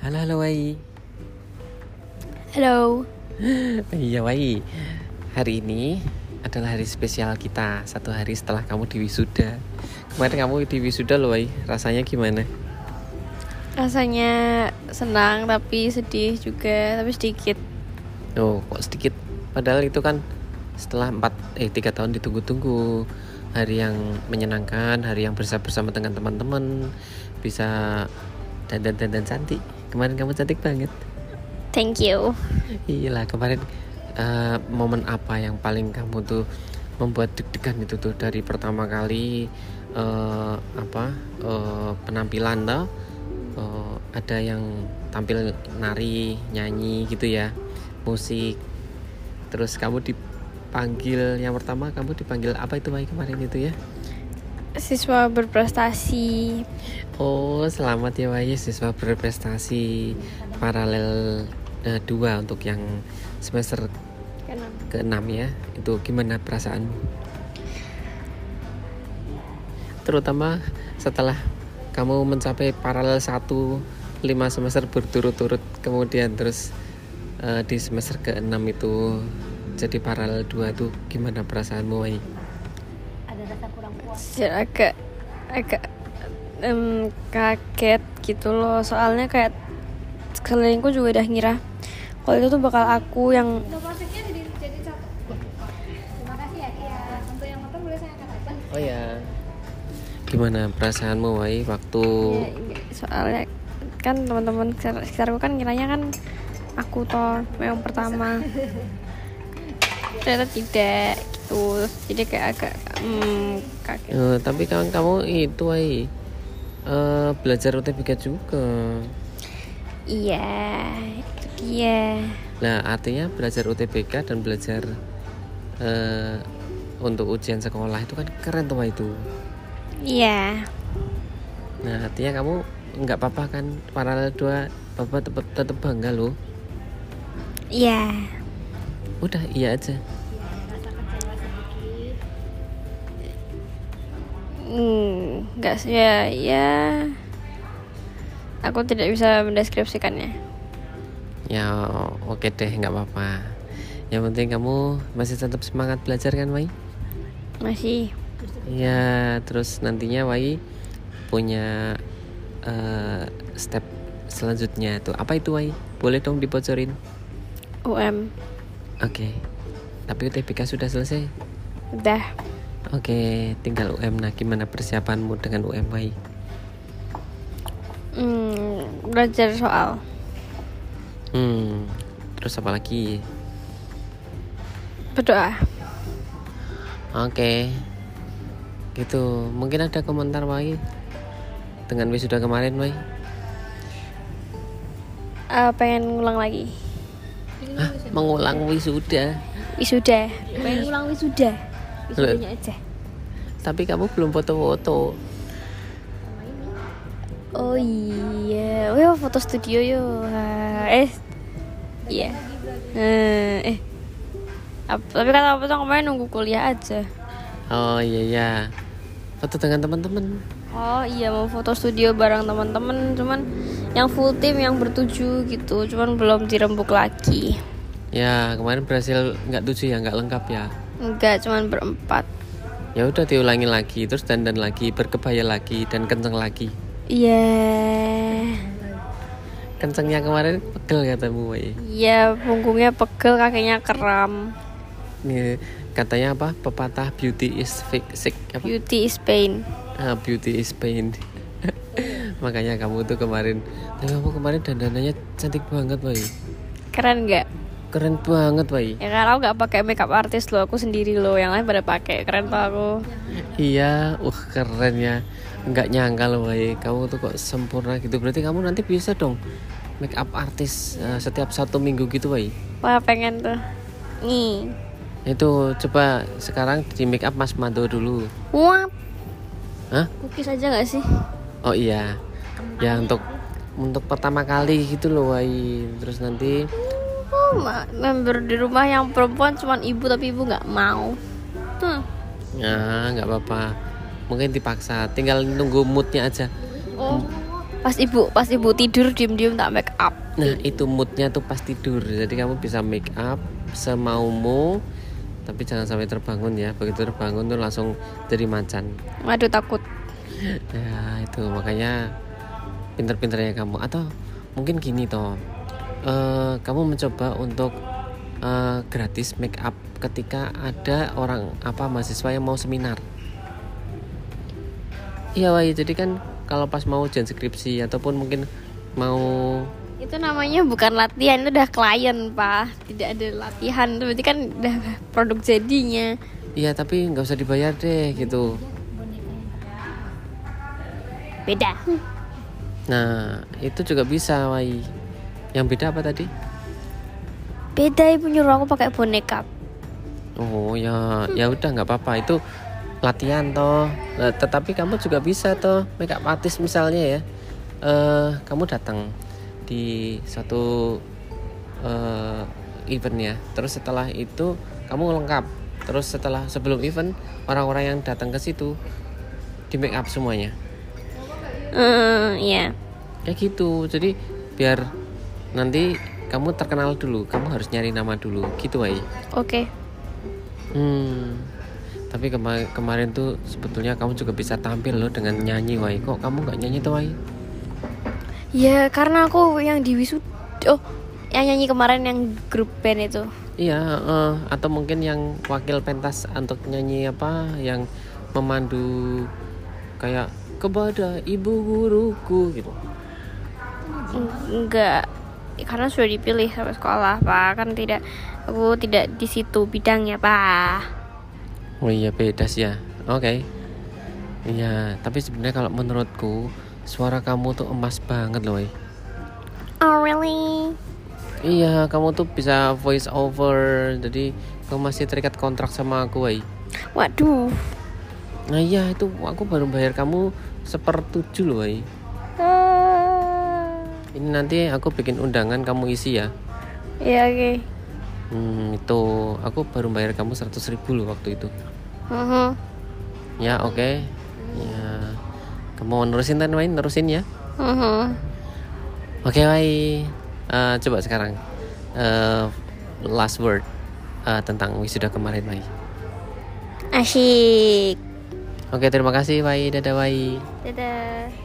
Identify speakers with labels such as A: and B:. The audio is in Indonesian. A: Halo, halo Wai.
B: Halo.
A: Iya Wai. Hari ini adalah hari spesial kita. Satu hari setelah kamu di wisuda. Kemarin kamu di wisuda loh Wai. Rasanya gimana?
B: Rasanya senang tapi sedih juga, tapi sedikit.
A: Oh, kok sedikit. Padahal itu kan setelah 4 eh 3 tahun ditunggu-tunggu. Hari yang menyenangkan, hari yang bersama-bersama dengan teman-teman, bisa dandan-dandan cantik. Kemarin kamu cantik banget.
B: Thank you.
A: Iyalah Iya kemarin eh, momen apa yang paling kamu tuh membuat deg-degan itu tuh dari pertama kali eh, apa eh, penampilan toh Eh, ada yang tampil nari nyanyi gitu ya musik terus kamu dipanggil yang pertama kamu dipanggil apa itu Mai kemarin itu ya
B: Siswa berprestasi.
A: Oh, selamat ya Wahyu siswa berprestasi paralel 2 untuk yang semester keenam ya itu gimana perasaanmu terutama setelah kamu mencapai paralel 1 5 semester berturut-turut kemudian terus eh, di semester ke-6 itu jadi paralel 2 tuh gimana perasaanmu Wai?
B: Jadi agak agak em, kaget gitu loh. Soalnya kayak sekelilingku juga udah ngira kalau itu tuh bakal aku yang
C: Plastiknya jadi jadi satu. Terima kasih ya Kia. Untuk yang motor boleh saya angkat aja.
A: Oh ya gimana perasaanmu Wai waktu
B: Ya, enggak. soalnya kan teman-teman sekitar- sekitarku kan kiranya kan aku toh yang pertama ternyata tidak gitu jadi kayak agak hmm, kaget
A: Eh, tapi kan kamu itu Wai eh, belajar UTBK juga
B: iya itu dia
A: Nah, artinya belajar UTBK dan belajar eh, untuk ujian sekolah itu kan keren tuh Wak, itu.
B: iya
A: Nah, artinya kamu nggak apa-apa kan paralel dua papa tetap tetap bangga loh.
B: iya
A: Udah iya aja.
B: Hmm, enggak sih ya ya aku tidak bisa mendeskripsikannya
A: Ya oke deh nggak apa-apa. Yang penting kamu masih tetap semangat belajar kan Wai?
B: masih
A: Iya. Terus nantinya Wai punya eh, step selanjutnya tuh apa itu Wai? Boleh dong dibocorin?
B: UM
A: Oke. Tapi UTBK sudah selesai.
B: udah
A: Oke, tinggal UM. Nah, gimana persiapanmu dengan UM, Wai?
B: hmm, belajar soal
A: Hmm, terus apa lagi?
B: berdoa
A: Oke, gitu. Mungkin ada komentar, Wai? Dengan wisuda kemarin, Wai?
B: Eh, pengen ngulang lagi
A: Hah, mengulang wisuda.
B: wisuda
C: Pengen ulang wisuda.
A: Wisudanya
C: aja.
A: Tapi kamu belum foto-foto.
B: oh iya oh iya, foto studio yo Wah, eh iya Eh, eh Ap- tapi kata apa tuh kemarin nunggu kuliah aja
A: Oh iya iya. Foto dengan teman-teman.
B: oh iya mau foto studio bareng teman-teman cuman yang full team yang bertuju gitu cuman belum dirembuk lagi
A: Ya, kemarin berhasil nggak tujuh ya, nggak lengkap ya.
B: enggak cuman berempat
A: Ya udah diulangi lagi, terus dandan lagi, berkebaya lagi, dan kenceng lagi.
B: iya
A: Kencengnya kemarin pegel katamu, Wai.
B: iya punggungnya pegel kakinya keram
A: Ini katanya apa? Pepatah beauty is fake sick apa?
B: beauty is pain
A: Ah, beauty is pain. Makanya kamu tuh kemarin, tapi kamu kemarin dandanannya cantik banget, Wai.
B: keren nggak
A: Keren banget, Wai.
B: Ya kalau nggak pakai makeup artis lo, aku sendiri lo, yang lain pada pakai. Keren tau aku.
A: Iya, uh keren ya. Nggak nyangka loh, Wai. Kamu tuh kok sempurna gitu. Berarti kamu nanti bisa dong make up artis eh, setiap satu minggu gitu, Wai.
B: Wah pengen tuh. Nih.
A: Itu coba sekarang di make up Mas Mando dulu.
B: Wah,
A: Hah?
B: cookies aja nggak sih?
A: Oh iya, ya untuk untuk pertama kali gitu loh Wai. Terus nanti
B: Oh, ma- member di rumah yang perempuan cuman ibu tapi ibu nggak mau. Hmm.
A: Nah, ya nggak apa-apa. Mungkin dipaksa, tinggal nunggu moodnya aja.
B: Oh, pas ibu pas ibu tidur diem-diem tak make up
A: Nah itu moodnya tuh pas tidur Jadi kamu bisa make up semaumu Tapi jangan sampai terbangun ya Begitu terbangun tuh langsung jadi macan
B: aduh takut
A: Nah itu makanya Pinter-pinternya kamu Atau mungkin gini toh Eh, Kamu mencoba untuk eh, Gratis make up Ketika ada orang apa mahasiswa yang mau seminar Iya Wahyu jadi kan Kalau pas mau ujian skripsi Ataupun mungkin mau
B: itu namanya bukan latihan itu udah klien pak tidak ada latihan itu berarti kan udah produk jadinya
A: Iya tapi nggak usah dibayar deh gitu.
B: beda
A: Nah itu juga bisa Wai. Yang beda apa tadi?
B: beda ibu nyuruh aku pakai boneka
A: Oh ya ya udah nggak apa-apa itu latihan toh. Nah, tetapi kamu juga bisa toh makeup artist misalnya ya. Eh kamu datang di suatu eh, event ya. Terus setelah itu kamu lengkap. Terus setelah sebelum event orang-orang yang datang ke situ di make up semuanya.
B: Hmm, iya
A: kayak gitu jadi biar nanti kamu terkenal dulu kamu harus nyari nama dulu gitu Wai
B: oke
A: hmm tapi kema- kemarin tuh sebetulnya kamu juga bisa tampil loh dengan nyanyi Wai kok kamu nggak nyanyi tuh Wai
B: ya karena aku yang di wisud oh yang nyanyi kemarin yang grup band itu
A: iya eh, atau mungkin yang wakil pentas untuk nyanyi apa yang memandu kayak kepada ibu guruku gitu
B: enggak karena sudah dipilih sama sekolah pak kan tidak aku tidak di situ bidangnya pak
A: Oh iya beda sih ya. Oke. Iya, tapi sebenarnya kalau menurutku suara kamu tuh emas banget loh. Wai.
B: oh really
A: Iya, kamu tuh bisa voice over. Jadi kamu masih terikat kontrak sama aku, Wai.
B: waduh
A: Nah iya itu aku baru bayar kamu sepertujuh loh, Wai.
B: Ah.
A: Ini nanti aku bikin undangan kamu isi ya.
B: ya oke
A: Hmm, itu aku baru bayar kamu 100.000 ribu loh waktu itu.
B: Mhm.
A: Ya oke. Ya. Kamu mau nerusin kan, Wai? Nerusin ya.
B: Mhm.
A: Oke, Wai. Eh, coba sekarang eh, last word eh, tentang wisuda kemarin, Wai.
B: asyik
A: Oke, terima kasih, Wai. Dadah, Wai.
B: dadah